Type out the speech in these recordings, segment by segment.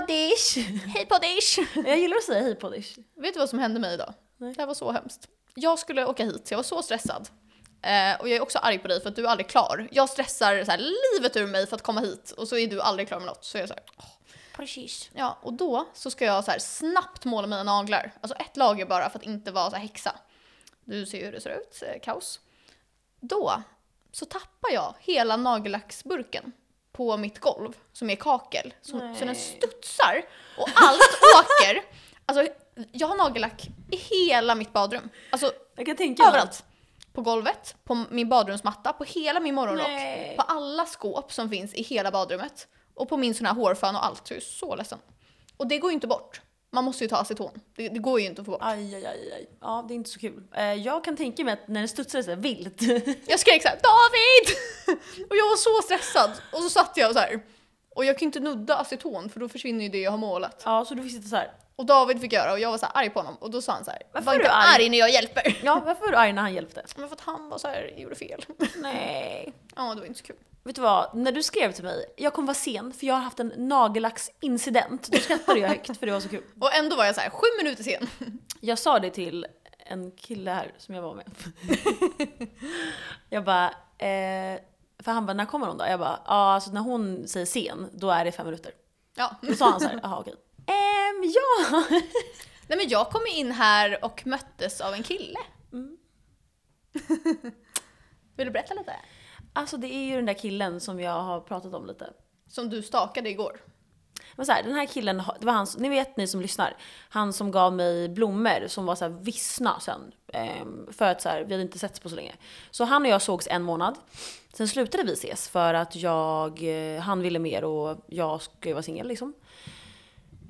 poddish! Hej poddish! Jag gillar att säga hej poddish. Vet du vad som hände mig idag? Nej. Det här var så hemskt. Jag skulle åka hit, jag var så stressad. Eh, och jag är också arg på dig för att du är aldrig klar. Jag stressar så här, livet ur mig för att komma hit och så är du aldrig klar med något. Så jag är så här, Precis. ja, och då så ska jag så här, snabbt måla mina naglar. Alltså ett lager bara för att inte vara så här, häxa. Du ser ju hur det ser ut, eh, kaos. Då så tappar jag hela nagellacksburken på mitt golv som är kakel. Så, så den Nej. studsar och allt åker. Alltså jag har nagellack i hela mitt badrum. Alltså Jag kan tänka mig. överallt. På golvet, på min badrumsmatta, på hela min morgonrock. Nej. På alla skåp som finns i hela badrummet. Och på min sån här hårfön och allt. Så jag är så ledsen. Och det går ju inte bort. Man måste ju ta aceton. Det, det går ju inte att få bort. Aj, aj, aj, aj. Ja, det är inte så kul. Eh, jag kan tänka mig att när den studsar så här vilt. Jag skrek såhär “David!” och jag var så stressad. Och så satt jag så här. Och jag kan ju inte nudda aceton för då försvinner ju det jag har målat. ja, så du fick sitta så här. Och David fick göra och jag var så här arg på honom och då sa han så här Varför “Var är inte du arg?" arg när jag hjälper!” Ja, varför var du arg när han hjälpte? Men för att han var så här, gjorde fel. Nej. Ja, det var inte så kul. Vet du vad, när du skrev till mig, jag kommer vara sen för jag har haft en nagellacksincident. Då skrattade jag högt för det var så kul. Och ändå var jag så här sju minuter sen. Jag sa det till en kille här som jag var med. jag bara, eh, för han bara, när kommer hon då? Jag bara, ja alltså när hon säger sen, då är det fem minuter. Ja. Då sa han så här, jaha okej. Ehm, ja. Nej men jag kom in här och möttes av en kille. Mm. Vill du berätta lite? Alltså det är ju den där killen som jag har pratat om lite. Som du stakade igår. Men så här, den här killen, har- det var han, som- ni vet ni som lyssnar, han som gav mig blommor som var så här vissna sen. ehm, För att så här, vi hade inte setts på så länge. Så han och jag sågs en månad. Sen slutade vi ses för att jag, eh, han ville mer och jag skulle vara singel liksom.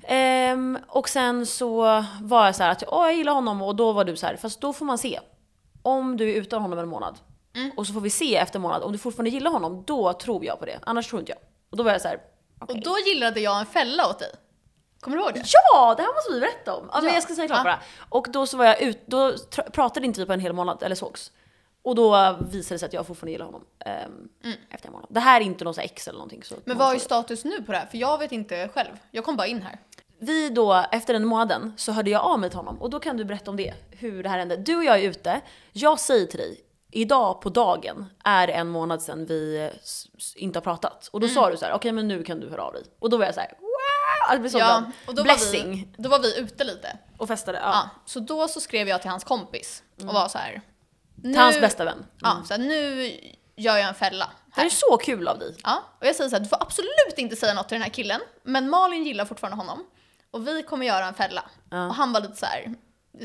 Ehm, och sen så var jag så här att "Åh, jag gillar honom och då var du så här, fast då får man se. Om du är utan honom en månad och så får vi se efter en månad, om du fortfarande gillar honom då tror jag på det, annars tror inte jag. Och då var jag så här, okej. Och då gillade jag en fälla åt dig. Kommer du ihåg det? Ja, det här måste vi berätta om. Ja, men Ja. jag ska säga klart Ja. bara. Och då så var jag ut, då tr- pratade inte vi på en hel månad, eller sågs. Och då visade det sig att jag fortfarande gillar honom. ehm, Efter en månad. Det här är inte någon så här ex eller någonting. Så Mm. Men vad är status nu på det här? För jag vet inte själv. Jag kom bara in här. Vi då, efter den månaden, så hörde jag av mig till honom. Och då kan du berätta om det, hur det här hände. Du och jag är ute, jag säger till dig, idag på dagen är det en månad sedan vi s- s- inte har pratat. Och då Mm. sa du så här, okej men nu kan du höra av dig. Och då var jag så här, wow! Alltså, Att bli så glad. och då Blessing! Var vi, då var vi ute lite. Och festade. Ja. Ja. Mm. så då så skrev jag till hans kompis och var så här. Till hans bästa vän. Ja, så här, nu gör jag en fälla. Det Här. är så kul av dig. Ja, och jag säger så här, du får absolut inte säga något till den här killen, men Malin gillar fortfarande honom. Och vi kommer göra en fälla. Ja. Och han var lite så här,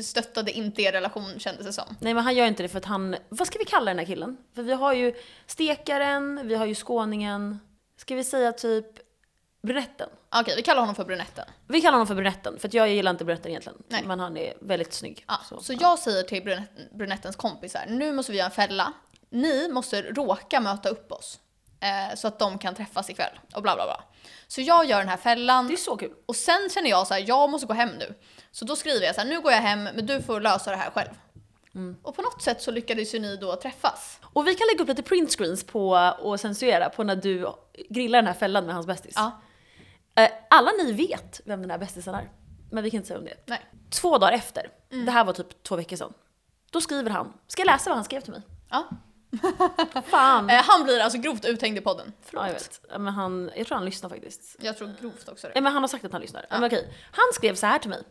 stöttade inte er relation kändes det som. Nej men han gör inte det för att han, vad ska vi kalla den här killen? För vi har ju stekaren, vi har ju skåningen. Ska vi säga typ brunetten? Ah, Okej, vi kallar honom för brunetten. Vi kallar honom för brunetten för att jag gillar inte brunetten egentligen. Nej. Men han är väldigt snygg. Ja, Så. så, jag säger till brunetten, brunettens kompisar, nu måste vi göra en fälla. Ni måste råka möta upp oss. Eh, så att de kan träffas ikväll. Och bla bla bla. Så jag gör den här fällan. Det är så kul. Och sen känner jag så här, jag måste gå hem nu. Så då skriver jag så här, nu går jag hem men du får lösa det här själv. Mm. Och på något sätt så lyckades ju ni då träffas. Och vi kan lägga upp lite printscreens på och censurera på när du grillar den här fällan med hans bästis. Ja, Eh, Alla ni vet vem den här bästisen är. Men vi kan inte säga om det. nej. Två dagar efter, Mm. det här var typ två veckor sedan. Då skriver han, ska jag läsa vad han skrev till mig? Ja. Fan! Eh, han blir alltså grovt uthängd i podden. Ja, jag vet. Ja, Men han, jag tror han lyssnar faktiskt. Jag tror grovt också det. Nej, men han har sagt att han lyssnar. Ja. Men okej. Han skrev så här till mig.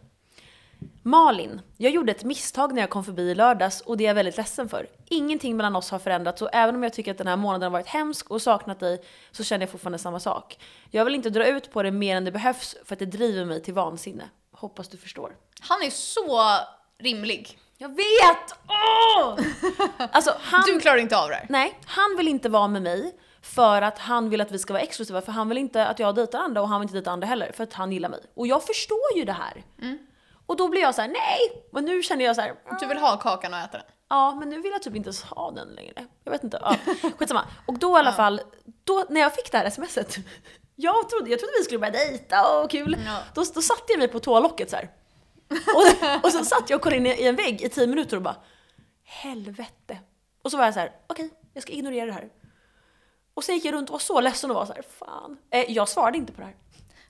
Malin, jag gjorde ett misstag när jag kom förbi i lördags och det är jag väldigt ledsen för. Ingenting mellan oss har förändrats och även om jag tycker att den här månaden har varit hemsk och saknat dig så känner jag fortfarande samma sak. Jag vill inte dra ut på det mer än det behövs för att det driver mig till vansinne. Hoppas du förstår. Han är så rimlig. Jag vet! Åh! Alltså han... Du klarar inte av det här. Nej, han vill inte vara med mig för att han vill att vi ska vara exklusiva för han vill inte att jag dejtar andra och han vill inte dejta andra heller för att han gillar mig. Och jag förstår ju det här. Och då blir jag så här: nej! Men nu känner jag så här. Du vill ha kakan Mm. och äta den. ja men nu vill jag typ inte ens ha den längre. Jag vet inte, ja. skitsamma. Och då i alla fall, då, när jag fick det här smset, jag trodde, jag trodde vi skulle börja dejta och kul. Ja. Då, då satte jag mig på toalocket så här. Och, och så satt jag och kollade in i en vägg i tio minuter och bara helvete. Och så var jag så här, okej, jag ska ignorera det här. Och sen gick jag runt och var så ledsen och var så här, fan. Eh, jag svarade inte på det här.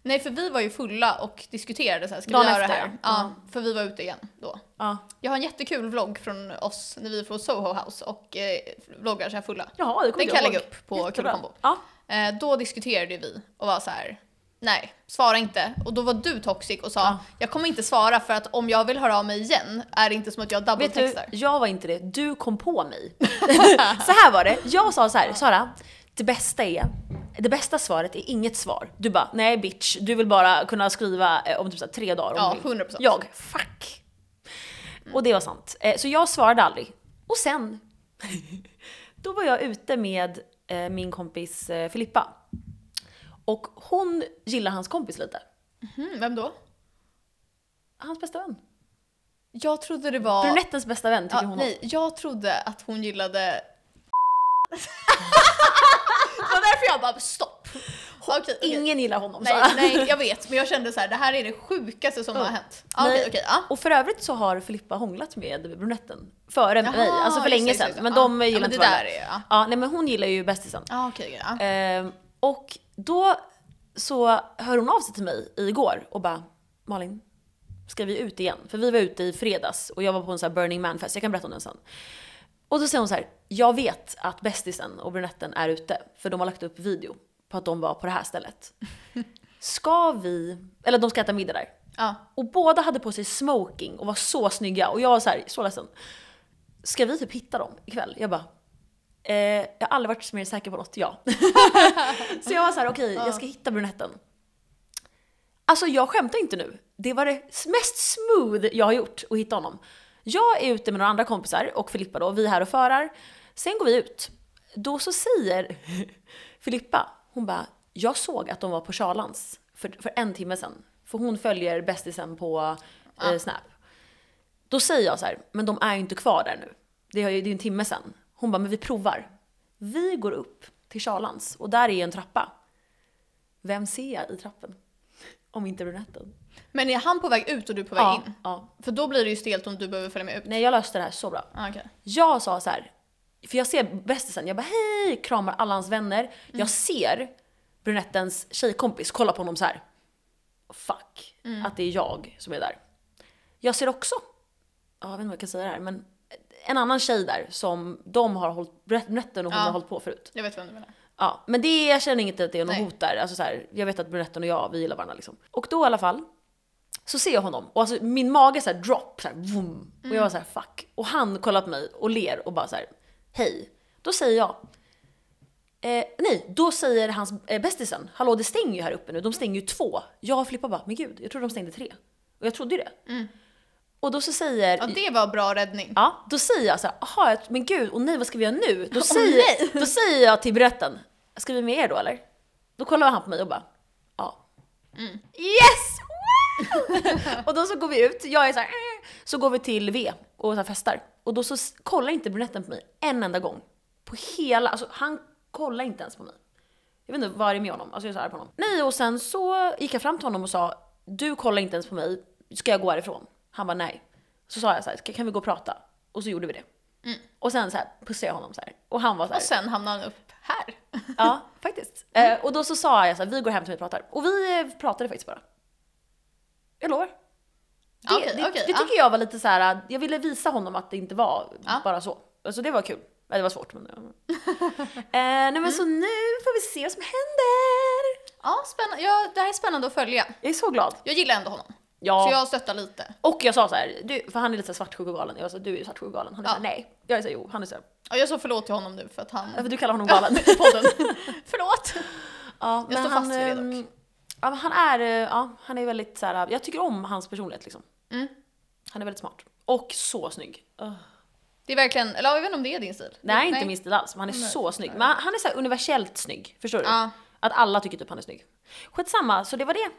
Nej för vi var ju fulla och diskuterade så här, ska Dagen vi göra det efter, här? ja. Mm. Ja, för vi var ute igen då. Ja. Jag har en jättekul vlogg från oss när vi var på Soho House och eh, vloggar så här fulla. Jaha, det kommer Den inte kan jag ihåg. lägga upp på Jättebra. Kullkombo. Ja. Eh, då diskuterade vi och var så här. Nej, svara inte. Och då var du toxic och sa Ja. jag kommer inte svara för att om jag vill höra av mig igen är det inte som att jag Vet du, double-textar. jag var inte det. Du kom på mig. så här var det. Jag sa så här, Sara, det bästa är det bästa svaret är inget svar. Du bara, nej bitch, du vill bara kunna skriva eh, om typ så här tre dagar. om Ja, du vill." 100%. Jag, fuck. Och det var sant. Eh, Så jag svarade aldrig. Och sen, då var jag ute med eh, min kompis eh, Filippa. Och hon gillar hans kompis lite. Mm, vem då? Hans bästa vän. Jag trodde det var... Brunettens bästa vän tycker ja, hon om. nej, jag trodde att hon gillade... det var därför jag bara stopp. Okej, okej. Ingen gillar honom Sara. Nej, nej, jag vet. Men jag kände så här, det här är det sjukaste som Ja. har hänt. Ja, Okej, Nej. okej. Ja. Och för övrigt så har Filippa hånglat med brunetten före Jaha, mig, alltså för just det, länge just det, sedan. just det. Men Ja. de Ja, gillar men inte det där varandra. är ju- ja. Ja, nej men hon gillar ju bästisen. Ja, okej. ja. Ehm, och då så hör hon av sig till mig igår och bara “Malin, ska vi ut igen?” För vi var ute i fredags och jag var på en sån här Burning Man-fest, jag kan berätta om den sen. Och då säger hon så här, “Jag vet att bästisen och brunetten är ute, för de har lagt upp video på att de var på det här stället. Ska vi, eller de ska äta middag där. Ja. Och båda hade på sig smoking och var så snygga och jag var så här, så ledsen. Ska vi typ hitta dem ikväll? Jag bara, eh, jag har aldrig varit mer säker på något, ja. så jag var så här, okej jag ska hitta brunetten. Alltså jag skämtar inte nu. Det var det mest smooth jag har gjort att hitta honom. Jag är ute med några andra kompisar och Filippa då, vi är här och förar. Sen går vi ut. Då så säger Filippa, hon bara, jag såg att de var på Charlans för, för en timme sedan. För hon följer bästisen på eh, Snap. Då säger jag så här, men de är ju inte kvar där nu. Det är ju det är ju en timme sedan. Hon bara, men vi provar. Vi går upp till Charlans och där är en trappa. Vem ser jag i trappen? Om inte brunetten. Men är han på väg ut och du på väg Ja, in? ja. För då blir det ju stelt om du behöver följa med ut. Nej, jag löste det här så bra. Ah, okej. Jag sa så här, för jag ser bästisen, jag bara hej, kramar alla hans vänner. Jag ser brunettens tjejkompis kolla på honom så här. Fuck, att det är jag som är där. Jag ser också, ja, jag vet inte vad jag kan säga här, men en annan tjej där som de har hållit, brunetten och hon Ja. har hållit på förut. Jag vet vem du menar. Ja, men det, jag känner inget att det är något Nej. hot där. Alltså så här, jag vet att brunetten och jag, vi gillar varandra liksom. Och då i alla fall, så ser jag honom och alltså min mage så här drop, så här, vroom. Och Mm. jag var så här fuck. Och han kollar på mig och ler och bara så här hej. Då säger jag, eh, nej, då säger hans eh, bästisen, hallå det stänger ju här uppe nu, de stänger ju två. Jag och Filippa bara, men gud, jag trodde de stängde tre. Och jag trodde ju det. Och då så säger, Mm. Ja, det var bra räddning. Ja, då säger jag så här, aha, jag- men gud, och nej vad ska vi göra nu? Då Åh, säger, nej. då säger jag till brötten, ska vi med er då eller? Då kollar han på mig och bara, ja. Mm. Yes! Wow! och då så går vi ut, jag är så här, "Eh." så går vi till V och så här festar. Och då så s- kollar inte brunetten på mig en enda gång. På hela, alltså han kollar inte ens på mig. Jag vet inte vad det är med honom, alltså jag är så arg på honom. Nej och sen så gick jag fram till honom och sa Du kollar inte ens på mig, ska jag gå härifrån? Han var nej. Så sa jag så här, "Ska- kan vi gå och prata? Och så gjorde vi det. Och sen så här pussade jag honom så här. Och han var så här, Och sen hamnade han upp här. ja faktiskt. Mm. Eh, och då så sa jag så här, vi går hem till mig och pratar. Och vi eh, pratade faktiskt bara. Jag lovar. Det, Okej, det, okej, det ja. tycker jag var lite så här. jag ville visa honom att det inte var Ja. bara så. Alltså det var kul. Ja, Det var svårt men... eh, nej men så Mm. nu får vi se vad som händer! Ja, spännande. Ja, det här är spännande att följa. Jag är så glad. Jag gillar ändå honom. Ja. Så jag stöttar lite. Och jag sa så här, du, för han är lite så här svartsjuk och galen. Jag sa du är ju svartsjuk och galen. Han är Ja. så här, nej. Jag är så här, jo. Han är så här, Och jag sa förlåt till honom nu för att han... "Ja, för du kallar honom galen. I podden. förlåt! ja, Jag står fast vid det dock. ehm, Ja, men han är, eh, ja, han är väldigt så här, eh, jag tycker om hans personlighet liksom. Mm. Han är väldigt smart. Och så snygg. Ugh. Det är verkligen, eller jag vet inte om det är din stil. Nej, inte min stil alls, men han är Nej, så nej. snygg. Men han- han är så här universellt snygg, förstår du? Ja. Att alla tycker typ han är snygg. Skitsamma, så det var det.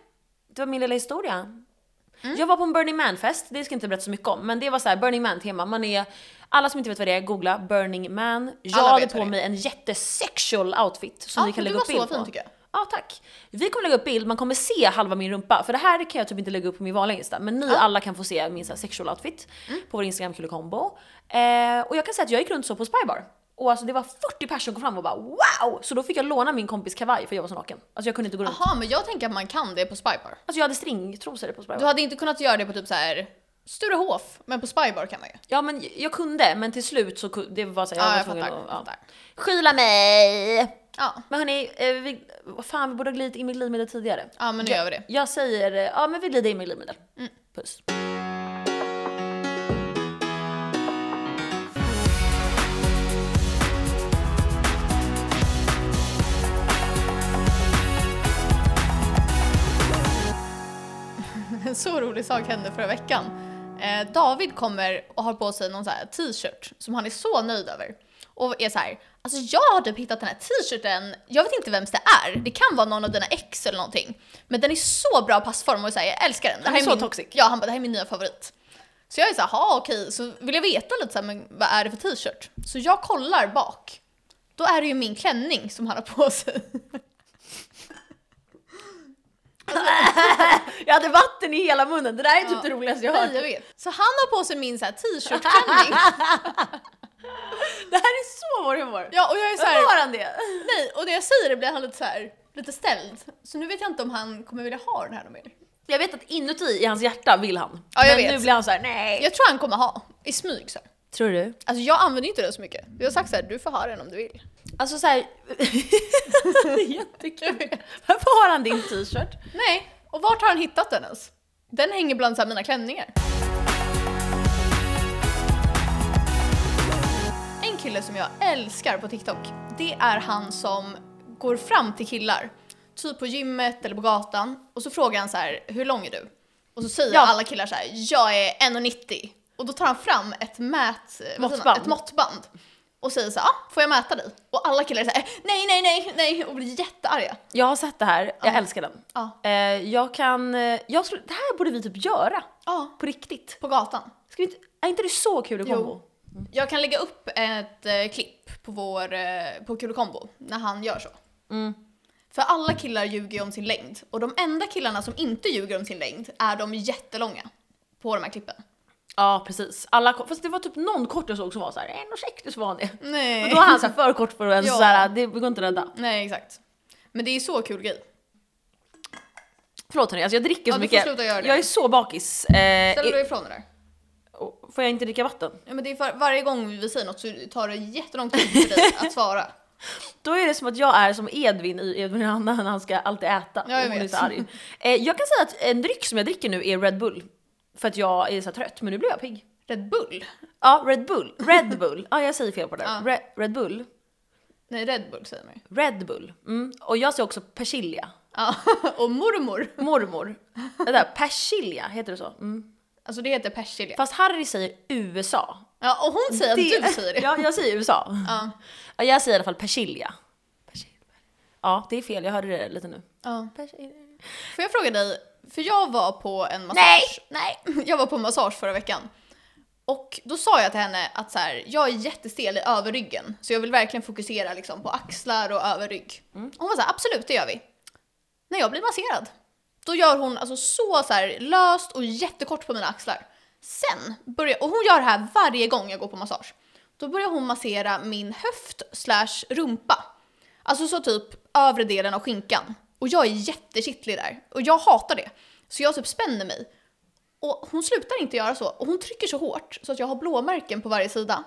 Det var min lilla historia. Mm. Jag var på en Burning Man-fest, det ska jag inte berätta så mycket om, men det var så här Burning Man-tema. Man är, alla som inte vet vad det är, googla Burning Man. Jag Alla hade vet på vad det är. mig en jättesexual outfit som Ja, vi kan men lägga du upp var bild så på. fin, tycker jag. Ja, tack. Vi kommer lägga upp bild, man kommer se halva min rumpa, för det här kan jag typ inte lägga upp på min vanliga Insta, men ni alla kan få Mm. se min så här sexual outfit på vår Instagram Kulekombo. Eh, och jag kan säga att jag gick runt så på Spybar. Och alltså det var 40 personer som kom fram och bara wow! Så då fick jag låna min kompis kavaj för jag var så naken. Alltså jag kunde inte gå runt. Jaha, men jag tänker att man kan det på Spybar. Alltså jag hade stringtrosor på Du Spybar. hade inte kunnat göra det på typ så här Sturehof, men på Spybar kan man ju. Ja men jag kunde, men till slut så ku- det var så här, Ja, jag jag var tvungen fattar. att... Ja. fattar. Skyla mig! Ja, Men hörni, eh, vi, vad fan vi borde ha glidit in med glidmedel tidigare. ja men nu Ja. gör vi det. Jag säger, eh, ja men vi glider in med glidmedel. Mm. Puss. En så rolig sak hände förra veckan. Eh, David kommer och har på sig någon så här t-shirt som han är så nöjd över. Och är så här, alltså jag har typ hittat den här t-shirten, jag vet inte vems det är, det kan vara någon av dina ex eller någonting. Men den är så bra passform och så här, jag älskar den. Det Han här är så min, toxic. Ja, han bara, det här är min nya favorit. Så jag är så här, "Ha, okej, så vill jag veta lite så här, men vad är det för t-shirt? Så jag kollar bak. Då är det ju min klänning som han har på sig. Jag hade vatten i hela munnen, det där är typ Ja. det roligaste jag har Nej, hört. jag vet. Så han har på sig min så här t-shirt-klänning. Det här är så vår humor. Ja, och jag är så Varför här, har han det? Nej, och när jag säger det blir han lite så här, lite ställd. Så nu vet jag inte om han kommer vilja ha den här någon mer. Jag vet att inuti i hans hjärta vill han. Ja, jag men vet. nu blir han så här: nej. Jag tror han kommer ha, i smyg så. här. Tror du? Alltså jag använder ju inte den så mycket. Jag har sagt så här, du får ha den om du vill. Alltså såhär... Jättekul. Varför har han din t-shirt? Nej, och vart har han hittat den ens? Den hänger bland så här mina klänningar. En kille som jag älskar på TikTok, det är han som går fram till killar. Typ på gymmet eller på gatan. Och så frågar han så här, hur lång är du? Och så säger Ja. alla killar så här, jag är 1,90. Och då tar han fram ett, mät, eh, vad säger man? Måttband. ett måttband. Och säger så här, ah, får jag mäta dig? Och alla killar är så här, nej, nej, nej, nej. Och blir jättearga. Jag har sett det här, jag älskar den. Ja, Eh, jag kan... eh, Jag skulle, det här borde vi typ göra. ja, På riktigt. på gatan. Ska vi inte, är inte det så kul i Jo. kombo? Jag kan lägga upp ett eh, klipp på vår, eh, på Kul Combo när han gör så. Mm. För alla killar ljuger ju om sin längd och de enda killarna som inte ljuger om sin längd är de jättelånga på de här klippen. Ja, precis. Alla, ko- fast det var typ någon kort jag såg som var såhär 1,60 så var han det. Nej. Och då var han såhär för kort för att ens Ja. såhär, det går inte att rädda. Nej, exakt. Men det är så kul grej. Förlåt hörni, alltså jag dricker så Ja, du får mycket. sluta göra det. Jag är så bakis. Eh, Ställer eh, du ifrån det där? och- får jag inte dricka vatten? Ja, men det är för, varje gång vi säger något så tar det jättelång tid för dig att svara. Då är det som att jag är som Edvin i Edvin och Anna när han ska alltid äta. Ja, jag och hon är vet. så arg. Eh, jag kan säga att en dryck som jag dricker nu är Red Bull. För att jag är så här trött, men nu blir jag pigg. Red Bull? Ja, Red Bull. Red Bull. Ja, jag säger fel på det. där. Ja. Re- Red Bull. Nej, Red Bull säger man ju. Red Bull. Mm. Och jag säger också persilja. Ja, och mormor. Mormor. Det där, persilja, heter det så? Mm. Alltså det heter persilja. Fast Harry säger USA. Ja, och hon säger att du säger det. Ja, jag säger USA. Ja. Ja, jag säger i alla fall persilja. Persilja. Ja, det är fel. Jag hörde det lite nu. Ja. Persilja. Får jag fråga dig, för jag var på en Nej! massage. Nej! Nej! Jag var på en massage förra veckan. Och då sa jag till henne att så här, jag är jättestel i överryggen, så jag vill verkligen fokusera liksom, på axlar och överrygg. Hon var så här, absolut det gör vi. När jag blir masserad, då gör hon alltså så, så här, löst och jättekort på mina axlar. Sen börjar, och hon gör det här varje gång jag går på massage. Då börjar hon massera min höft slash rumpa. Alltså så typ övre delen av skinkan. Och jag är jättekittlig där. Och jag hatar det. Så jag typ spänner mig. Och hon slutar inte göra så. Och hon trycker så hårt så att jag har blåmärken på varje sida.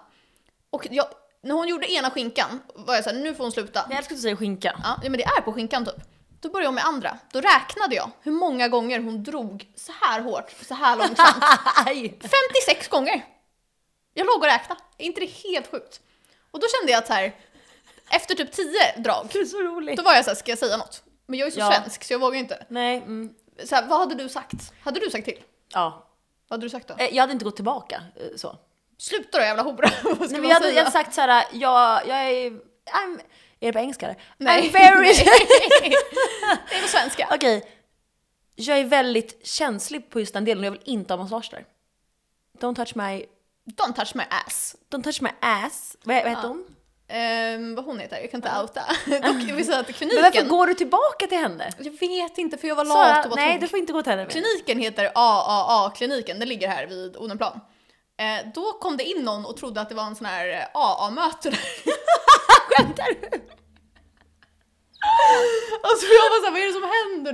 Och jag, när hon gjorde ena skinkan var jag såhär, nu får hon sluta. Jag älskar att du säger skinka. Ja, ja, men det är på skinkan typ. Då började jag med andra. Då räknade jag hur många gånger hon drog så här hårt, så här långsamt. Aj! 56 gånger! Jag låg och räknade. Är inte det helt sjukt? Och då kände jag att så här, efter typ 10 drag Det är så roligt. då var jag såhär, ska jag säga något? Men jag är så Ja. svensk så jag vågar ju inte. Nej, mm, Så här, vad hade du sagt? Hade du sagt till? ja. Vad hade du sagt då? Eh, Jag hade inte gått tillbaka eh, så. Sluta då jävla hora! vad ska Nej, man men jag, hade, jag säga? hade sagt såhär, jag, jag är... I'm, är det på engelska eller? Nej. I'm very... Nej. Det är på svenska. Okej. Jag är väldigt känslig på just den delen och jag vill inte ha massage där. Don't touch my... Don't touch my ass. Don't touch my ass. Vad, vad heter hon? Ehm, vad hon heter, jag kan inte outa. Dock vill säga att Men varför kliniken... går du tillbaka till henne? Jag vet inte för jag var lat Sara, och var nej tokig. du får inte gå till henne mer. Kliniken heter AAA-kliniken, den ligger här vid Odenplan. Eh, då kom det in någon och trodde att det var en sån här eh, AA-möte där. Skämtar du? Alltså jag var såhär, vad är det som händer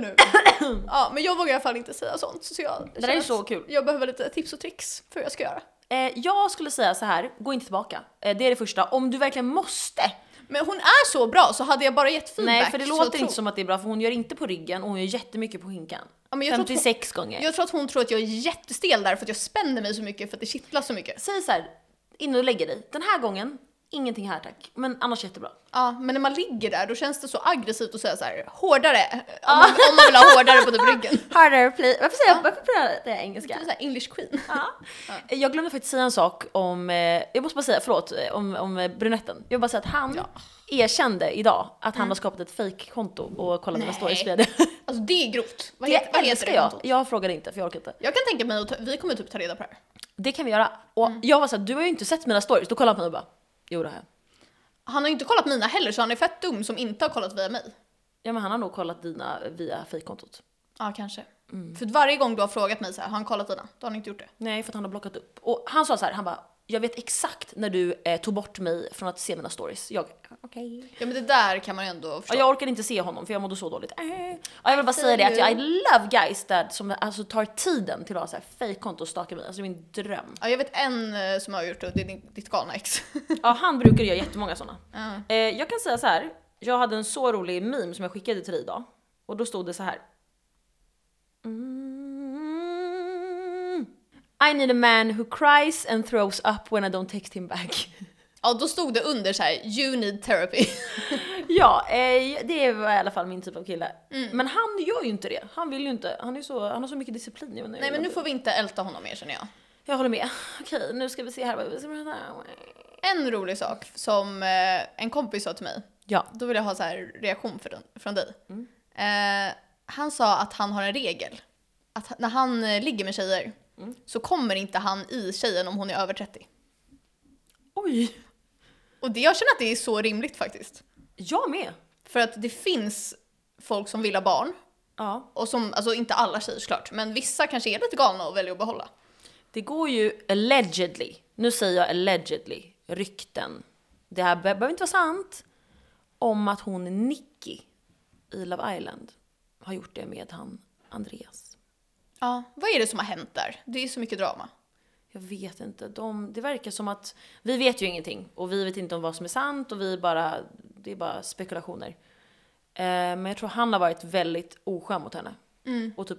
nu? ja, men jag vågar i alla fall inte säga sånt. Så jag Det där är så kul. Jag behöver lite tips och tricks för hur jag ska göra. Eh, jag skulle säga så här, gå inte tillbaka. Eh, det är det första. Om du verkligen måste. Men hon är så bra så hade jag bara gett feedback. Nej, för det så låter tror- inte som att det är bra för hon gör inte på ryggen och hon gör jättemycket på hinkan. Ja, men jag tror att hon- 56 gånger. Jag tror att hon tror att jag är jättestel där för att jag spänner mig så mycket för att det kittlar så mycket. Säg så här, in och lägger dig. Den här gången, ingenting här tack. Men annars jättebra. Ja, men när man ligger där då känns det så aggressivt att säga så här hårdare. Om man, om man vill ha hårdare på typ ryggen. Harder please. Varför säger jag, varför pratar jag Det engelska? är så här English queen. Eh, Jag glömde faktiskt säga en sak om, eh, jag måste bara säga, förlåt, eh, om, om eh, brunetten. Jag vill bara säga att han erkände idag att han har skapat ett fejkkonto och kollat mina Mm. Nej. stories via det. Alltså det är grovt. Vad, heter, Det vad heter älskar det? jag. kontot? Jag frågade inte för jag orkar inte. Jag kan tänka mig att ta- vi kommer typ ta reda på det här. Det kan vi göra. Och jag var såhär, du har ju inte sett mina stories. Då kollade han på mig och bara, jo det har jag. Han har ju inte kollat mina heller så han är fett dum som inte har kollat via mig. Ja men han har nog kollat dina via fejkkontot. Ja, kanske. Mm. För varje gång du har frågat mig så här, har han kollat dina? Då har han inte gjort det. Nej för att han har blockat upp. Och han sa så här, han bara, jag vet exakt när du eh, tog bort mig från att se mina stories. Jag, okej. Ja men det där kan man ju ändå Ja, förstå. jag orkar inte se honom för jag mådde så dåligt. Äh. Ja, jag vill bara säga det att jag I love guys that som alltså tar tiden till att ha så här fejkkonto och stalka mig. Alltså det är min dröm. Ja, jag vet en eh, som har gjort det och det är din, ditt galna ex. Ja, han brukar göra jättemånga sådana. Eh, Ja. jag kan säga så här. Jag hade en så rolig meme som jag skickade till dig idag och då stod det så här. Mm. I need a man who cries and throws up when I don't text him back. Ja, då stod det under så här, you need therapy. Ja, eh, det var i alla fall min typ av kille. Mm. Men han gör ju inte det. Han vill ju inte. Han, är så, han har så mycket disciplin. Jag menar, Nej men nu jag- får vi inte älta honom mer känner jag. Jag håller med. Okej, nu ska vi se här. En rolig sak som eh, en kompis sa till mig, Ja. då vill jag ha så här reaktion för den, från dig. Eh, han sa att han har en regel. Att h- när han eh, ligger med tjejer så kommer inte han i tjejen om hon är över 30. Oj! Och det, jag känner att det är så rimligt faktiskt. Jag med. För att det finns folk som vill ha barn. Ja. Och som, alltså inte alla tjejer såklart, men vissa kanske är lite galna och väljer att behålla. Det går ju allegedly. Nu säger jag allegedly. Rykten. Det här be- behöver inte vara sant. Om att hon Nicky i Love Island har gjort det med han Andreas. Ja. Vad är det som har hänt där? Det är så mycket drama. Jag vet inte. De, det verkar som att vi vet ju ingenting och vi vet inte om vad som är sant och vi bara, det är bara spekulationer. Eh, men jag tror han har varit väldigt oskön mot henne och typ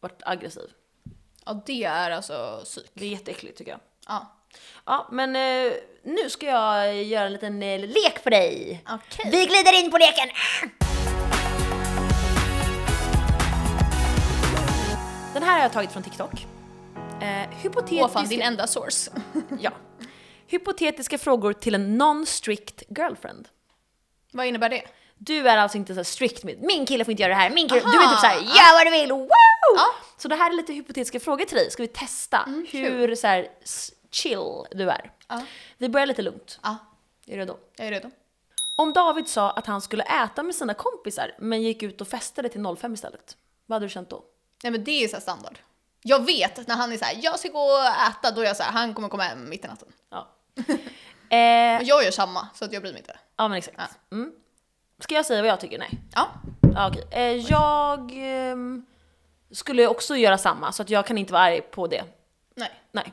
varit aggressiv. Ja, det är alltså psyk. Det är jätteäckligt tycker jag. Ja. Ja, men eh, nu ska jag göra en liten eh, lek för dig. Okej. Vi glider in på leken! Den här har jag tagit från TikTok. Eh, hypotetiska... Åh fan, din enda source. ja. Hypotetiska frågor till en non-strict girlfriend. Vad innebär det? Du är alltså inte så här strikt med min kille får inte göra det här, min kille... Aha. Du är typ såhär gör vad du vill, wow! Ja. Mm, Så det här är lite hypotetiska frågor till dig, ska vi testa hur så här, s- chill du är. Ja. Vi börjar lite lugnt. Ja, Är du redo? jag är redo. Om David sa att han skulle äta med sina kompisar men gick ut och festade till 05 istället, vad hade du känt då? Nej men det är ju så här standard. Jag vet att när han är så här, jag ska gå och äta, då är jag så här, han kommer komma hem mitt i natten. Ja. eh, Och jag gör samma, så att jag bryr mig inte. ja men exakt. Mm. Ska jag säga vad jag tycker? Nej. Ja, Ja, okej. eh, jag ehm, skulle också göra samma så att jag kan inte vara arg på det. nej. Nej.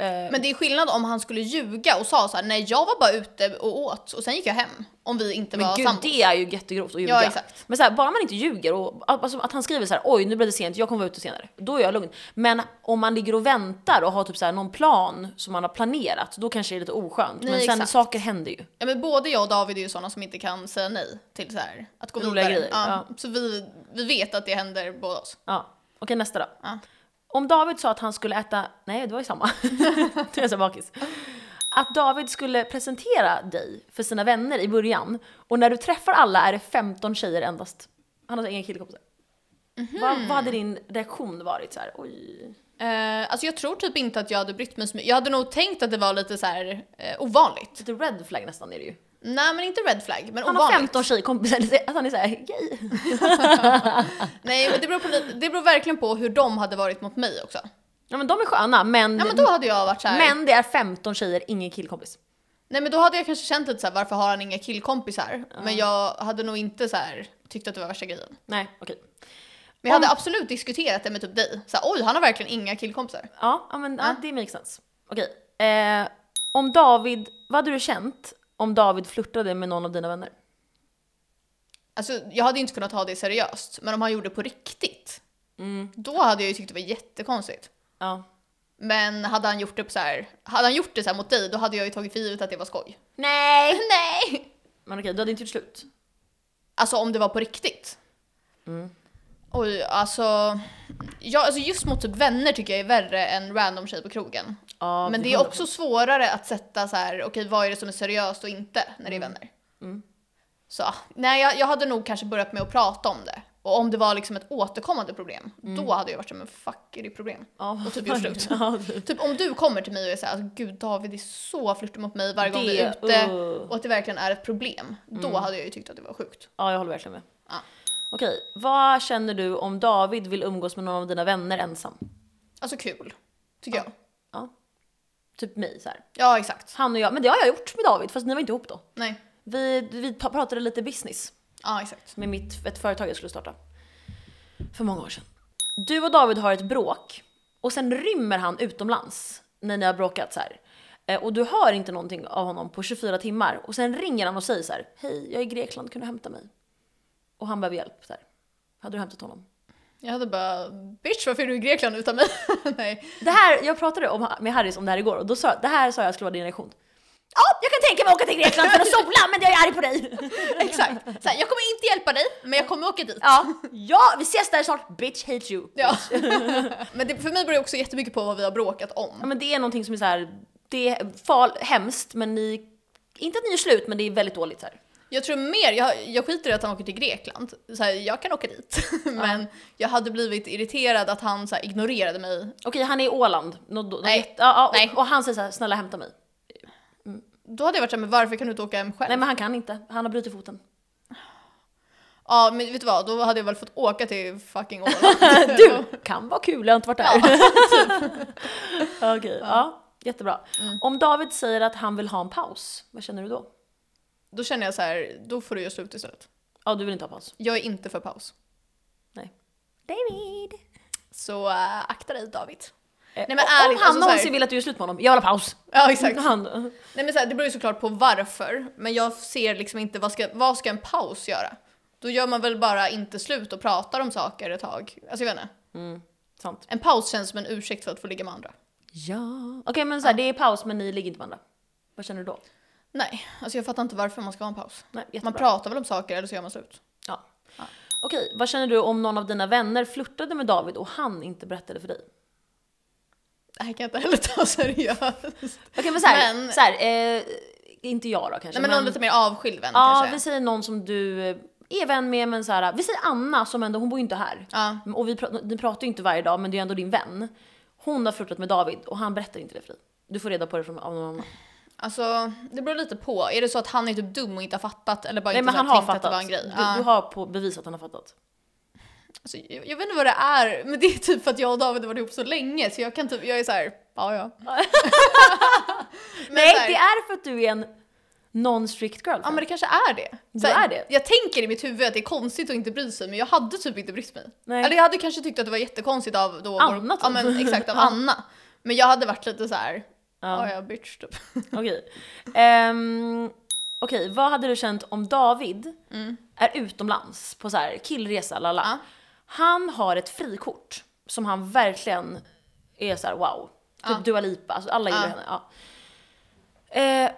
Eh, Men det är skillnad om han skulle ljuga och sa så här, nej jag var bara ute och åt och sen gick jag hem. Om vi inte men var gud sambo. det är ju jättegrovt att ljuga. Ja, exakt. Men så här, bara man inte ljuger och alltså, att han skriver så här: oj nu blev det sent, jag kommer vara ute senare. Då är jag lugn. Men om man ligger och väntar och har typ så här, någon plan som man har planerat, då kanske det är lite oskönt. Nej, men sen exakt. saker händer ju. Ja, men både jag och David är ju sådana som inte kan säga nej till så här, att gå Roliga vidare. grejer, Ja, Så vi, vi vet att det händer båda oss. Ja. Okej nästa då. Ja. Om David sa att han skulle äta, nej det var ju samma. det är så bakis. Att David skulle presentera dig för sina vänner i början och när du träffar alla är det 15 tjejer endast. Han har alltså inga killkompisar. Mhm. Vad, vad hade din reaktion varit så här? Oj. Eh, alltså jag tror typ inte att jag hade brytt mig så mycket. Jag hade nog tänkt att det var lite så här eh, ovanligt. Lite red flag nästan är det ju. Nej men inte red flag, men Han har ovanligt. 15 tjejkompisar, det är- att han är såhär gay. Nej men det beror, på, lite- det beror verkligen på hur de hade varit mot mig också. Ja men de är sköna men, Ja men då hade jag varit så här. Mm. men det är 15 tjejer, ingen killkompis. Nej men då hade jag kanske känt lite så här, varför har han inga killkompisar? Men jag hade nog inte så här, tyckt att det var värsta grejen. Nej okej. Men jag Om- hade absolut diskuterat det med typ dig. Så här, oj han har verkligen inga killkompisar. Ja, ja men ja, det makes sense. Okej. Eh, om David, vad hade du känt om David flörtade med någon av dina vänner? Alltså jag hade ju inte kunnat ta det seriöst. Men om han gjorde det på riktigt. Mm. Då hade jag ju tyckt det var jättekonstigt. Ja. Men hade han gjort det, på så här, hade han gjort det så här mot dig då hade jag ju tagit för givet att det var skoj. Nej! Nej! Men okej, du hade inte gjort slut? Alltså om det var på riktigt. Mm. Oj, alltså, ja, alltså just mot typ vänner tycker jag är värre än random tjej på krogen. Ja, Men för det är 100%. också svårare att sätta så här, okej vad är det som är seriöst och inte när det Mm. är vänner. Så nej, jag, jag hade nog kanske börjat med att prata om det. Och om det var liksom ett återkommande problem, Mm. då hade jag varit som en fuck är det problem. Ja, Och typ gjort slut. Ja, typ. Typ om du kommer till mig och är såhär, alltså, gud David är så flörtig mot mig varje gång vi är Det, ute uh. Mm. och att det verkligen är ett problem. Då hade jag ju tyckt att det var sjukt. ja, jag håller verkligen med. Ja. Okej, vad känner du om David vill umgås med någon av dina vänner ensam? Alltså kul, tycker jag. Ja. Typ mig så här. Ja, exakt. Han och jag, men det har jag gjort med David fast ni var inte ihop då. Nej. Vi, vi ta- pratade lite business Ja, exakt. med mitt, ett företag jag skulle starta. För många år sedan. Du och David har ett bråk och sen rymmer han utomlands när ni har bråkat så här. Eh, Och du hör inte någonting av honom på 24 timmar och sen ringer han och säger så här. Hej, jag är i Grekland, kan du hämta mig? Och han behöver hjälp så här. Hade du hämtat honom? Jag hade bara, bitch varför är du i Grekland utan mig? Nej. Det här, jag pratade om, med Harris om det här igår och då sa det här sa jag skulle vara din reaktion. Ja, jag kan tänka mig att åka till Grekland för att sola men jag är arg på dig. Exakt. Så här, jag kommer inte hjälpa dig, men jag kommer åka dit. Ja, ja vi ses där snart, bitch hate you. Ja. men det, för mig beror det också jättemycket på vad vi har bråkat Ja, om. men det är någonting som är så här, det är fal- hemskt men ni, inte att ni är slut men det är väldigt dåligt så här. Jag tror mer, jag, jag skiter i att han åker till Grekland. Så här, jag kan åka dit. men jag hade blivit irriterad att han så här, ignorerade mig. Okej, han är i Åland. Nå, då, Nej. Ja, ja, och, Nej. och han säger så här, snälla hämta mig. Då hade jag varit såhär, men varför kan du inte åka hem själv? Nej men han kan inte, han har brutit foten. Ja, men vet du vad? Då hade jag väl fått åka till fucking Åland. Du! Kan vara kul, jag har inte varit där. Okej, ja. jättebra. Mm. Om David säger att han vill ha en paus, vad känner du då? Då känner jag så här, då får du göra slut istället. Ja, du vill inte ha paus. Jag är inte för paus. Nej. David! Så äh, akta dig David. Nej, men men ärligt, om alltså han så här- någonsin vill att du gör slut med honom, jag vill ha paus. Ja exakt. Han, Nej, men så här, det beror ju såklart på varför, men jag ser liksom inte vad ska, vad ska en paus göra? Då gör man väl bara inte slut och pratar om saker ett tag. Alltså jag vet inte. sant. En paus känns som en ursäkt för att få ligga med andra. Ja. Okej men så här, det är paus men ni ligger inte med varandra. Vad känner du då? Nej, alltså jag fattar inte varför man ska ha en paus. Nej, Man jättebra. pratar väl om saker eller så gör man slut. Ja. Okej, vad känner du om någon av dina vänner flörtade med David och han inte berättade för dig? Det här kan jag inte heller ta seriöst. Okej men såhär, Men- så här, eh, inte jag då kanske. Nej men någon lite mer avskild vän ja, kanske. vi säger någon som du eh, är vän med men såhär, vi säger Anna som ändå, hon bor ju inte här. Ja. Och vi pra- ni pratar ju inte varje dag men det är ju ändå din vän. Hon har flörtat med David och han berättar inte det för dig. Du får reda på det från, av någon annan. Alltså det beror lite på. Är det så att han är typ dum och inte har fattat eller bara Nej inte men så han här har tänkt att det var fattat. en grej? Du, Ja. du har på bevis att han har fattat. Alltså, jag, jag vet inte vad det är, men det är typ för att jag och David har varit ihop så länge så jag kan typ, jag är såhär, ja ja. men Nej så här, det är för att du är en non-strict girl. typ. Ja men det kanske är det. Du här, är det. Jag tänker i mitt huvud att det är konstigt att inte bry sig men jag hade typ inte brytt mig. Nej. Eller jag hade kanske tyckt att det var jättekonstigt av då Anna, typ. Ja typ. men exakt, av Ja. Anna. Men jag hade varit lite så här. Ja. ja ja bitch typ. Okej. Ehm, Okej, vad hade du känt om David är utomlands på så här killresa, lala. Mm. Ja. Han har ett frikort som han verkligen är så här: wow. Typ Dua Lipa, alltså alla gillar Ja. henne. Ja. Eh,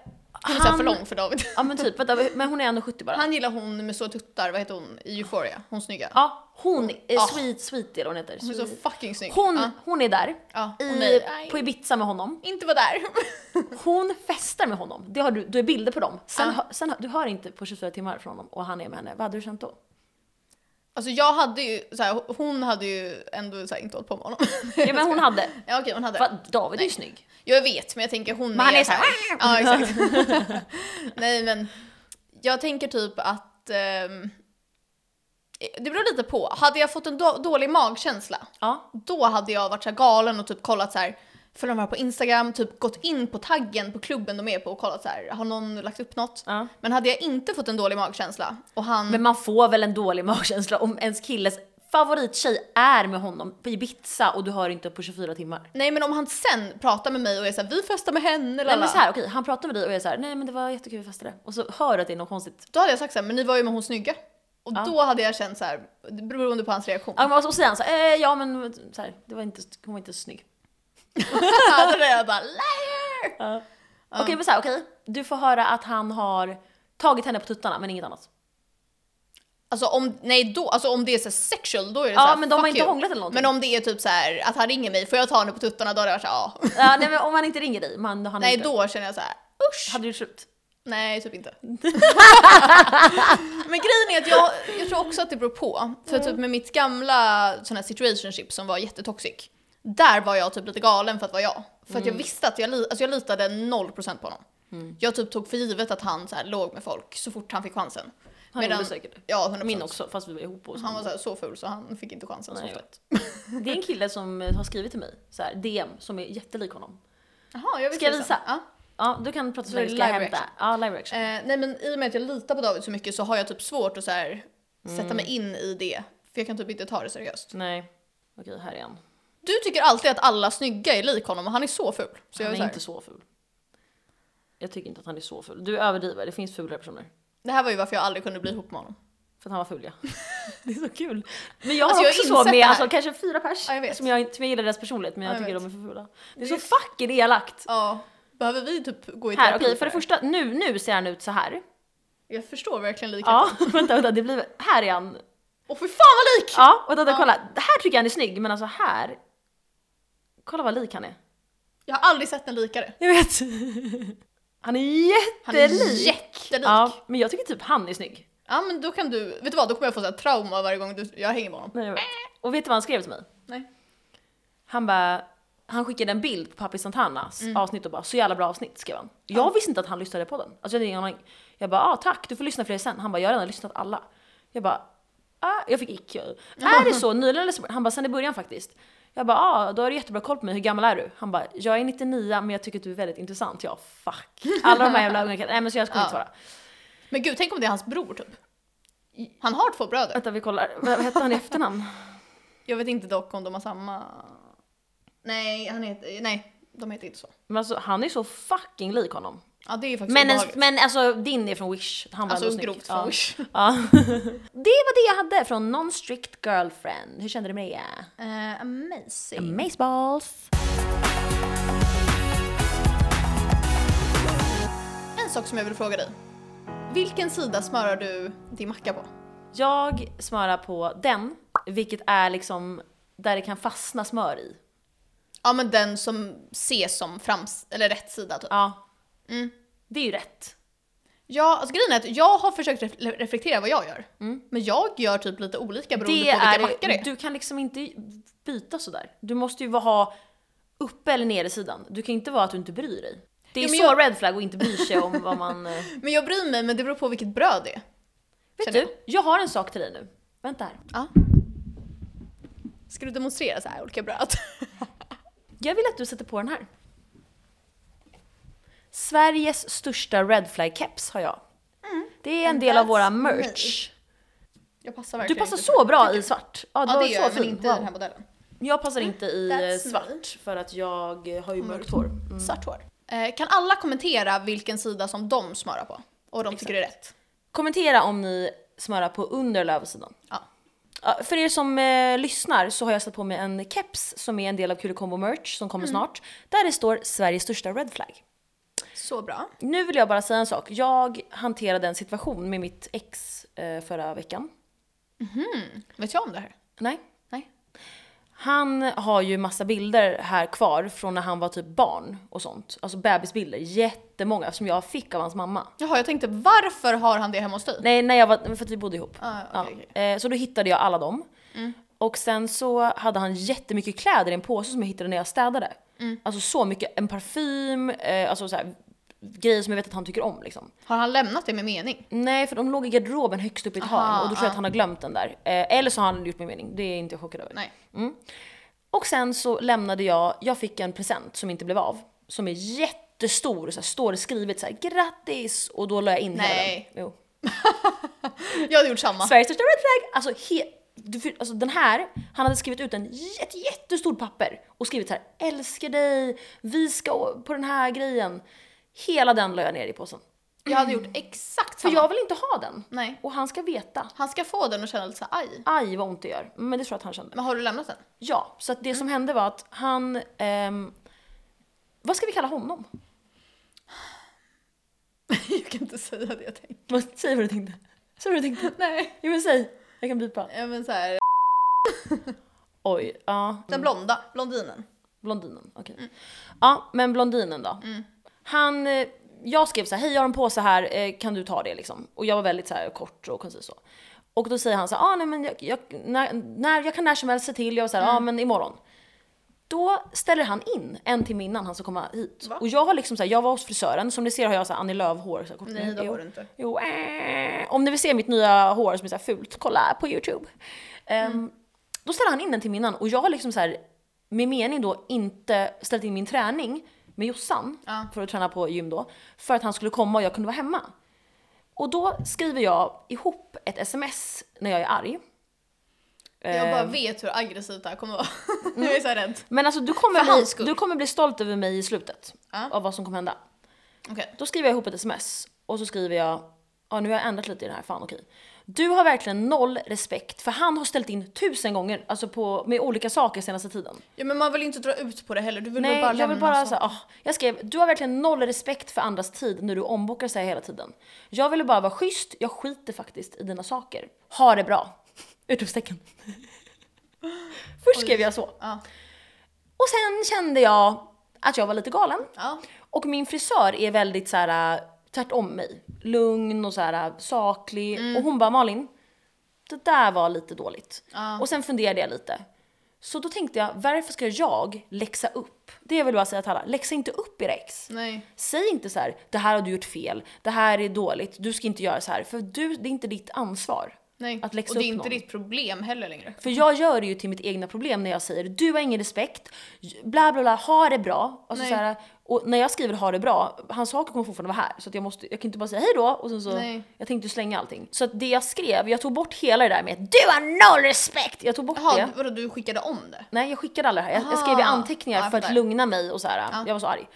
Hon är så här för lång för David. Ja men typ, vänta, men hon är ändå 70 bara. Han gillar hon med stora tuttar, vad heter hon, i Euphoria? Hon snygga. Ja, hon, är Ah. sweet, sweet är det hon heter. Hon är så Sweet. fucking snygg. Hon, ja. hon är där, Ja, hon i, är- nej. på Ibiza med honom. Inte var där. Hon festar med honom, det har du, du är bilder på dem. Sen, Ja. hö- sen, hö- du hör inte på 24 timmar från honom och han är med henne. Vad hade du känt då? Alltså jag hade ju, så här, hon hade ju ändå så här, inte hållit på med honom. Ja men hon hade. ja okej hon hade. För att David är ju Nej. snygg. Jag vet men jag tänker hon Men han är så här, Ja exakt. Nej men jag tänker typ att ehm, Det beror lite på. Hade jag fått en då, dålig magkänsla, Ja. då hade jag varit så här galen och typ kollat så här följer de här på Instagram, typ gått in på taggen på klubben de är på och kollat så här har någon lagt upp något? ja. Men hade jag inte fått en dålig magkänsla och han... Men man får väl en dålig magkänsla om ens killes favorittjej är med honom på Ibiza och du hör inte på 24 timmar. nej men om han sen pratar med mig och är såhär vi festar med henne Nej men lalala." så här, okej, han pratar med dig och jag är så här, nej men det var jättekul vi festade. Och så hör du att det är något konstigt. Då hade jag sagt såhär, men ni var ju med hon snygga. Och Ja. då hade jag känt såhär, beroende på hans reaktion. Ja, men Och så säger han så här, eh, ja men så här, det var inte, hon var inte så snygg. Då hade jag bara liar! Ja. Okej men så här, okej, du får höra att han har tagit henne på tuttarna men inget annat. Alltså om, nej då, alltså om det är så här sexual då är det Ja såhär, men de har fuck inte you. hånglat eller någonting. Men om det är typ så här att han ringer mig, får jag ta henne på tuttarna? Då hade jag varit såhär, ja. ja, nej, men om han inte ringer dig, man, han Nej inte. då känner jag så här. usch! Hade du gjort slut? Nej, typ inte. men grejen är att jag, jag tror också att det beror på. För typ med mitt gamla sån här situationship som var jättetoxic. Där var jag typ lite galen för att vara jag. För Mm. att jag visste att jag, li- alltså jag litade 0% på honom. Jag typ tog för givet att han så här låg med folk så fort han fick chansen. Han Medan- gjorde säkert det. Ja, 100%. Min också, fast vi var ihop och så. Han var så, här, så ful så han fick inte chansen Nej, så jag ofta. Det är en kille som eh, har skrivit till mig, så här, DM, som är jättelik honom. Jaha, jag visste Ska jag det sen. visa? Ja. Ja, du kan prata så Så är länge, det ska jag live hämta. Ja, live reaction. Eh, nej men i och med att jag litar på David så mycket så har jag typ svårt att så här, Mm. sätta mig in i det. För jag kan typ inte ta det seriöst. Nej. Okej, här är han. Du tycker alltid att alla snygga är lik honom och han är så ful. Så jag han är är så här, inte så ful. Jag tycker inte att han är så ful. Du överdriver, det finns fulare personer. Det här var ju varför jag aldrig kunde bli ihop med honom. För att han var ful ja. Det är så kul. Men jag har Alltså, jag har också insett så det med här. alltså, kanske fyra pers Ja, jag vet. som, jag, som jag gillar deras personlighet men jag Ja, jag tycker vet. de är för fula. Det är Det är så fucking elakt. Ja. Behöver vi typ gå i Här, terapi okej för det första, nu, nu ser han ut så här. Jag förstår verkligen likheten. Ja, vänta, vänta, det blir, här är han. Åh fy fan vad lik! Ja, vänta, vänta, kolla. Här tycker jag han är snygg men alltså här. Kolla vad lik han är. Jag har aldrig sett en likare. Jag vet. Han är jättelik. Han är jättelik. Ja, Ja. men jag tycker typ han är snygg. men då kan du, vet du vad, då kommer jag få så här trauma varje gång du, jag hänger med honom. Nej, jag vet. Och vet du vad han skrev till mig? Äh. Nej. Han bara, han skickade en bild på Papi Santanas Mm. avsnitt och bara så jävla bra avsnitt skrev han. Jag visste inte att han lyssnade på den. Alltså jag hade ingen aning. Jag bara, ah, tack du får lyssna fler sen. Han bara, jag har redan lyssnat alla. Jag bara, ah, jag fick ick. Är det så nyligen eller så? Han bara, sen i början faktiskt. Jag bara, ah, då har du jättebra koll på mig, hur gammal är du? Han bara, jag är 99 men jag tycker att du är väldigt intressant. Jag, fuck. Alla de här jävla unga killarna, nej men så jag skulle inte Ja. svara. Men gud, tänk om det är hans bror typ. Han har två bröder. Vänta vi kollar, vad vad hette han i efternamn? Alltså- Jag vet inte dock om de har samma... Nej, han heter, nej, de heter inte så. Men alltså han är så fucking lik honom. Ja det är ju faktiskt Men, ens, obehagligt. men alltså din är från Wish. Han var Alltså ändå grovt snygg. Ja. fåsch. Ja. Det var det jag hade från Non-Strict Girlfriend. Hur kände du med det? Eh, amazing. Amazeballs. En sak som jag vill fråga dig. Vilken sida smörar du din macka på? Jag smörar på den, vilket är liksom där det kan fastna smör i. Ja men den som ses som frams... eller rätt sida typ. Ja. Mm. Det är ju rätt. Ja, alltså grejen är att jag har försökt ref- reflektera vad jag gör. Men jag gör typ lite olika beroende Det på vilka är, mackor Mm. det är. Du kan liksom inte byta sådär. Du måste ju ha uppe eller nere sidan. Du kan inte vara att du inte bryr dig. Det är Ja, men så red flag att inte bry sig om vad man... eh, Men jag bryr mig, men det beror på vilket bröd det är. Vet Känner jag. du, jag har en sak till dig nu. Vänta här. Ja. Ska du demonstrera så här olika bröd? Jag vill att du sätter på den här. Sveriges största red flag keps har jag. Det är en And del av Mm. that's våra me. merch. Jag passar Du verkligen passar inte så bra i svart. Ja, du Ja var det gör jag, så men fin. inte i den här Wow. modellen. Jag passar inte i That's eh, me. svart för att jag eh, har ju mörkt hår. Mm. Svart hår. Eh, kan alla kommentera vilken sida som de smörar på? Och de tycker det är rätt. Kommentera om ni smörar på under eller översidan. Ja. Ja, För er som eh, lyssnar så har jag satt på mig en keps som är en del av Kul Combo merch som Mm. kommer snart. Där det står Sveriges största red flag. Så bra. Nu vill jag bara säga en sak. Jag hanterade en situation med mitt ex eh, förra veckan. Vet jag om det här? Nej. Nej. Han har ju massa bilder här kvar från när han var typ barn och sånt. Alltså bebisbilder, jättemånga som jag fick av hans mamma. Jaha, jag tänkte varför har han det hemma hos dig? Nej, när jag var, för att vi bodde ihop. Ah, okej, okej. Mm. Ja. Eh, Så då hittade jag alla dem. Och sen så hade han jättemycket Mm. kläder i en påse som jag hittade när jag städade. Alltså så mycket, en parfym, eh, alltså så här, grejer som jag vet att han tycker om liksom. Har han lämnat det med mening? Nej, för de låg i garderoben högst upp i ett hörn Aha, och då tror jag ja. att han har glömt den där. Eh, eller så har han gjort med mening, det är inte jag chockad över. Nej. Och sen så lämnade jag, jag fick en present som inte blev av. Som är jättestor, så här, står det skrivet så här grattis! Och då la jag in Nej. hela den. Jo. Jag hade gjort samma. Sveriges största red flag! Alltså, he, du, för- alltså den här, han hade skrivit ut en jätte, jättestor papper och skrivit så här älskar dig, vi ska å- på den här grejen. Hela den la jag ner i påsen. Jag hade gjort exakt För samma. jag vill inte ha den. Nej. Och han ska veta. Han ska få den och känna lite så här, aj. Aj vad ont det gör. Men det tror jag att han kände. Men har du lämnat den? Ja, så att det som hände var att han... ehm, vad ska vi kalla honom? jag kan inte säga det jag tänkte. Vad- Säg vad du tänkte. Säg vad du tänkte. Nej. Jo men säg. Jag kan bipa. Ja, men så här. Oj, ja. Den blonda, blondinen. Blondinen, okej. Mm. Ja, men blondinen då. Han, eh, jag skrev så här, hej jag har en påse här, eh, kan du ta det liksom? Och jag var väldigt så här kort och koncis så. Och då säger han så här, ah, nej men jag, jag, när, när, jag kan när som helst se till, jag var så här, Mm. ja ah, men imorgon. Då ställer han in en timme innan han ska komma hit. Va? Och jag har liksom så här, jag var hos frisören, som ni ser har jag så här Annie Lööf-hår. så här kort. Nej, det Jo. har du inte. Jo, äh. om ni vill se mitt nya hår som är så här fult, kolla på YouTube. Ehm, Mm. Då ställer han in den till minnan och jag har liksom så här, med mening då inte ställt in min träning med Jossan Ja. för att träna på gym då, för att han skulle komma och jag kunde vara hemma. Och då skriver jag ihop ett sms när jag är arg. Ehm, Jag bara vet hur aggressivt det här kommer vara. jag är så här rädd. Men alltså du kommer, För hans bli, skull. du kommer bli stolt över mig i slutet Ja. av vad som kommer hända. Okej. Då skriver jag ihop ett sms och så skriver jag, ja nu har jag ändrat lite i det här, fan okej. Du har verkligen noll respekt för han har ställt in tusen gånger, alltså på, med olika saker senaste tiden. Ja men man vill ju inte dra ut på det heller, du vill väl Nej, bara jag vill lämna bara så. säga, ah, jag skrev, du har verkligen noll respekt för andras tid när du ombokar sig hela tiden. Jag ville bara vara schysst, jag skiter faktiskt i dina saker. Ha det bra! Utropstecken. Först Oj. skrev jag så. Ja. Och sen kände jag att jag var lite galen. Ja. Och min frisör är väldigt så här tvärtom mig. Lugn och så här saklig. Och hon bara Malin, det där var lite dåligt. Ja. Och sen funderade jag lite. Så då tänkte jag, varför ska jag läxa upp? Det vill jag säga till alla, läxa inte upp era ex. Nej. Säg inte så här, det här har du gjort fel, det här är dåligt, du ska inte göra så här. För du, det är inte ditt ansvar. Nej. Att läxa och det är upp inte någon. ditt problem heller längre. För jag gör det ju till mitt egna problem när jag säger du har ingen respekt, bla bla bla, ha det bra. Alltså, Nej. så här, och när jag skriver ha det bra, hans saker kommer fortfarande vara här. Så att jag, måste, jag kan inte bara säga hej då och sen så, Nej. jag tänkte slänga allting. Så att det jag skrev, jag tog bort hela det där med du har noll respekt! Jag tog bort Jaha, det. vadå du skickade om det? Nej jag skickade alla det här, jag, jag skrev i Aha. anteckningar Ja, jag för att fattar. lugna mig och så här. Ja. jag var så arg.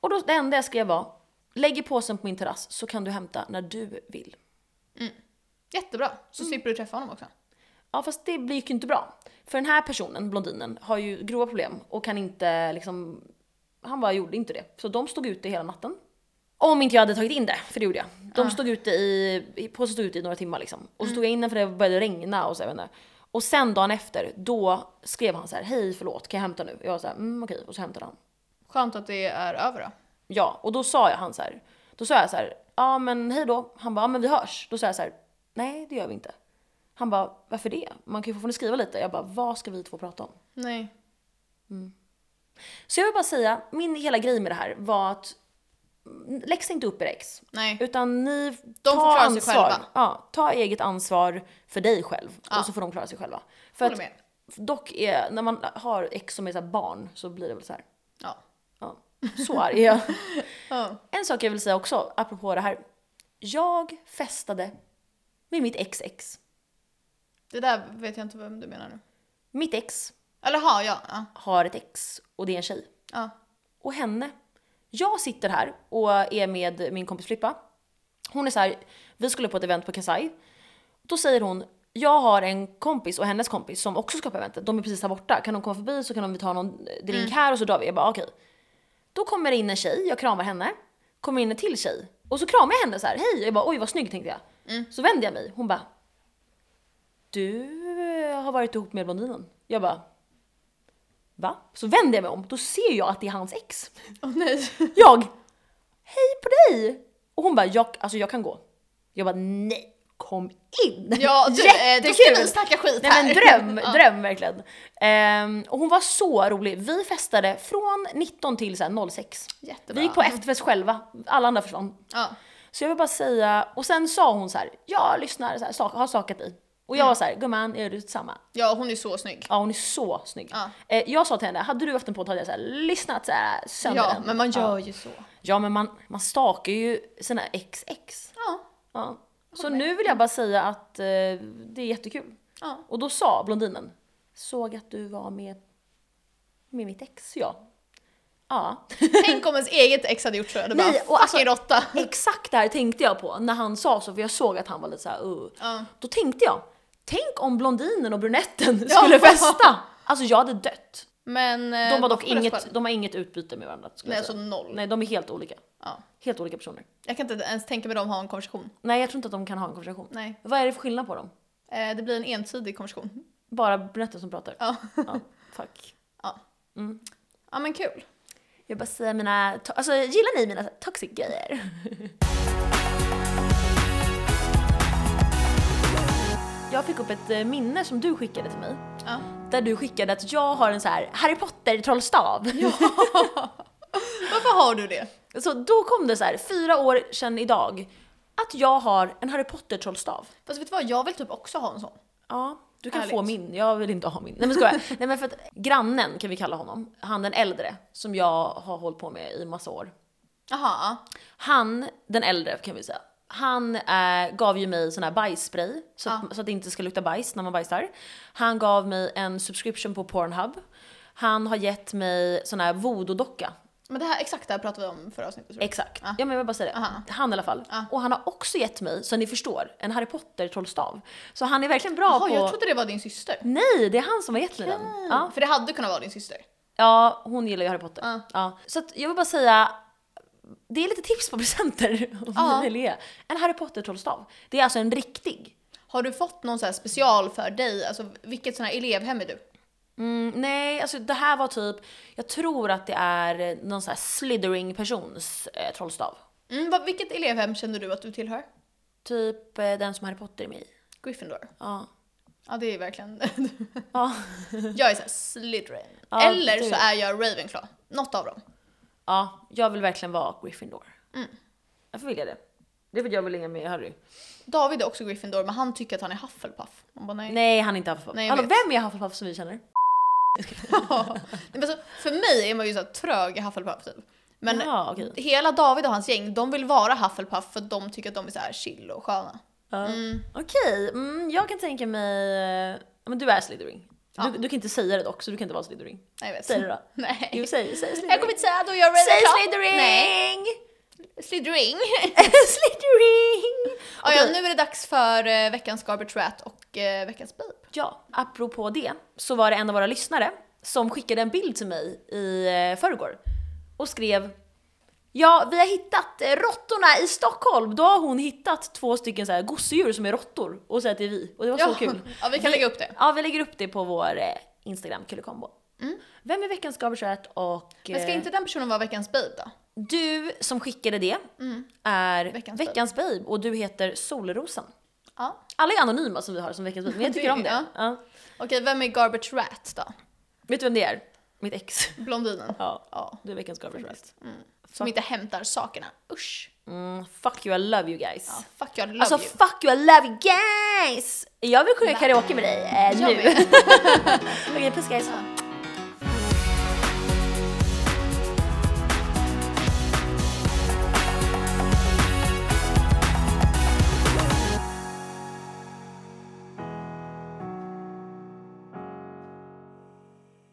Och då, det enda jag skrev var, lägg i påsen på min terrass så kan du hämta när du vill. Jättebra, så slipper du träffa honom också. Ja fast det blir- gick ju inte bra. För den här personen, blondinen, har ju grova problem och kan inte liksom... Han bara gjorde inte det. Så de stod ute hela natten. Om inte jag hade tagit in det, för det gjorde jag. De stod ute i... i- Påsen stod ute i några timmar liksom. Och så tog jag in den för det började regna och så, jag vet inte. Och sen dagen efter, då skrev han så här: hej förlåt kan jag hämta nu? Och jag var så här, mm okej. Och så hämtade han. Skönt att det är över då. Ja, och då sa jag han så här. Då sa jag så här, ja men hej då. Han bara, ja men vi hörs. Då sa jag så här, nej det gör vi inte. Han bara, varför det? Man kan ju fortfarande skriva lite. Jag bara, vad ska vi två prata om? Nej. Så jag vill bara säga, min hela grej med det här var att mm, läxa inte upp er ex. Nej. Utan ni De får ta klara sig ansvar. själva. Ja, ta eget ansvar för dig själv Ja. och så får de klara sig själva. För Håller att, med. dock är, när man har ex som är så här barn så blir det väl så här. Ja. Ja, så arg är jag. Ja. En sak jag vill säga också, apropå det här. Jag festade med mitt ex ex. Det där vet jag inte vem du menar nu. Mitt ex Eller ha, ja. ja. har ett ex och det är en tjej. ja. Och henne. Jag sitter här och är med min kompis Flippa. Hon är så här, vi skulle på ett event på Kasai. Då säger hon, jag har en kompis och hennes kompis som också ska på eventet. De är precis här borta. Kan de komma förbi så kan de vi ta någon drink här och så drar vi. Jag bara "Ah, okej. Då kommer det in en tjej, jag kramar henne. Kommer in en till tjej. Och så kramar jag henne så här, hej. Jag bara oj vad snygg tänkte jag. Så vänder jag mig. Hon bara, du har varit ihop med blondinen. Jag bara, va? Så vänder jag mig om. Då ser jag att det är hans ex. Åh, nej. Jag! Hej på dig! Och hon bara, jag, alltså jag kan gå. Jag bara, nej! kom in! Ja, du, eh, då ska vi snacka skit Nej här. men dröm, Ja. dröm verkligen. Ehm, och hon var så rolig. Vi festade från 19 till så här 06. Jättebra. Vi gick på efterfest själva, alla andra försvann. Ja. Så jag vill bara säga, och sen sa hon så här, jag lyssnar, så här, sak, har sakat dig. Och Mm. jag var så här, gumman är du samma? ja, hon är så snygg. Ja hon är så snygg. Ja. Eh, jag sa till henne, hade du haft en podd hade jag så här, lyssnat så här, sönder Ja, den. men man ja. gör ju så. ja men man, man stakar ju sina XX. Ja. Ja. Så nu vill jag bara säga att eh, det är jättekul. ja. Och då sa blondinen, såg att du var med, med mitt ex, ja. Ja, Tänk om ens eget ex hade gjort så. Det Nej, bara, och fucking alltså- råtta. exakt det här tänkte jag på när han sa så, för jag såg att han var lite såhär uh. Ja. Då tänkte jag, tänk om blondinen och brunetten Ja. skulle festa! Alltså jag hade dött. Men... eh, De, var vad dock får det inget, spela? de har inget utbyte med varandra. skulle Nej, jag alltså säga. noll. Nej, de är helt olika. Ja. Helt olika personer. Jag kan inte ens tänka mig dem ha en konversation. Nej, jag tror inte att de kan ha en konversation. Nej. Vad är det för skillnad på dem? Eh, det blir en ensidig konversation. Bara brunetten som pratar? Ja. Ja, fuck. Ja. Mm. Ja men kul. Jag bara säger mina, to- alltså gillar ni mina toxic grejer? Jag fick upp ett eh, minne som du skickade till mig. Ja. Där du skickade att jag har en så här Harry Potter-trollstav. Varför har du det? Så då kom det så här, fyra år sedan idag, att jag har en Harry Potter-trollstav. Fast vet du vad, jag vill typ också ha en sån. Ja, du kan Härligt. få min. Jag vill inte ha min. Nej men skojar. Nej men för att grannen kan vi kalla honom, han den äldre, som jag har hållit på med i massa år. Jaha. Han, den äldre kan vi säga, han eh, gav ju mig sån här bajsspray så, att- så att det inte ska lukta bajs när man bajsar. Han gav mig en subscription på Pornhub. Han har gett mig sån här voodoo-docka. Men det här, exakt det här pratade vi om förra avsnittet. tror jag. Exakt. Ja men jag vill bara säga det. Aha. Han i alla fall. Och han har också gett mig, så ni förstår, en Harry Potter-trollstav. Så han är verkligen bra Jaha, på... jag trodde det var din syster. Nej, det är han som har gett mig den. Ja. För det hade kunnat vara din syster. Ja, hon gillar ju Harry Potter. Ja. Ja. Så att jag vill bara säga, det är lite tips på presenter om Ja. ni vill ge. En Harry Potter-trollstav. Det är alltså en riktig. Har du fått någon så här special för dig? Alltså vilket sån här elevhem är du? Mm, nej, alltså det här var typ, jag tror att det är någon sån här slithering persons eh, trollstav. Mm, vad, vilket elevhem känner du att du tillhör? Typ eh, den som Harry Potter är med i. Gryffindor. Ja. Ja det är verkligen... Ja. jag är såhär Slytherin. Ja, Eller du- så är jag Ravenclaw. Något av dem. ja, jag vill verkligen vara Gryffindor. Mm. Varför vill jag det? Det är för att jag vill hänga med Harry. David är också Gryffindor men han tycker att han är Hufflepuff. Man bara, nej. Nej, han är inte Hufflepuff. Nej, jag Hallå, vet. vem är Hufflepuff som vi känner? Ja. Nej, men så, för mig är man ju så här trög i Hufflepuff typ. Men ja, okej. hela David och hans gäng, de vill vara Hufflepuff för de tycker att de är så här chill och sköna. Ja. Mm. Okej, mm, jag kan tänka mig... ja, Men du är Slytherin. Ja. Du, du kan inte säga det dock, så du kan inte vara Slytherin. Nej, jag vet. Säg det då. Nej. Jo, säg, säg Slytherin. Jag kommer inte säga då, jag är Säg Ravenclaw. Slytherin! Nej, Slytherin. Slytherin! Ja, ja, Okej. nu är det dags för eh, veckans Garbage Rat och eh, veckans Babe. Ja, apropå det så var det en av våra lyssnare som skickade en bild till mig i eh, förrgår och skrev Ja, vi har hittat eh, råttorna i Stockholm. Då har hon hittat två stycken så här gosedjur som är råttor och så att det är vi. Och det var så kul. Ja, vi kan lägga upp det. Ja, vi lägger upp det på vår eh, Instagram, Kulekombo. Vem är veckans gabiköt och... Mm. Men ska eh, inte den personen vara veckans Babe då? Du som skickade det är veckans, Mm. Veckans babe. och du heter Solrosen. Ja. Alla är anonyma som vi har som veckans babe, men jag tycker Det- om det. ja. Ja. Okej, vem är Garbage Rat då? Vet du vem det är? Mitt ex. Blondinen. Ja, Ja. du är veckans gabiköt. Som inte hämtar sakerna. Usch. Mm, fuck you, I love you guys. Ja, fuck you, I love alltså you. fuck you, I love you guys! Jag vill sjunga karaoke med dig eh, Jag nu. med. Okej, puss guys. Ja.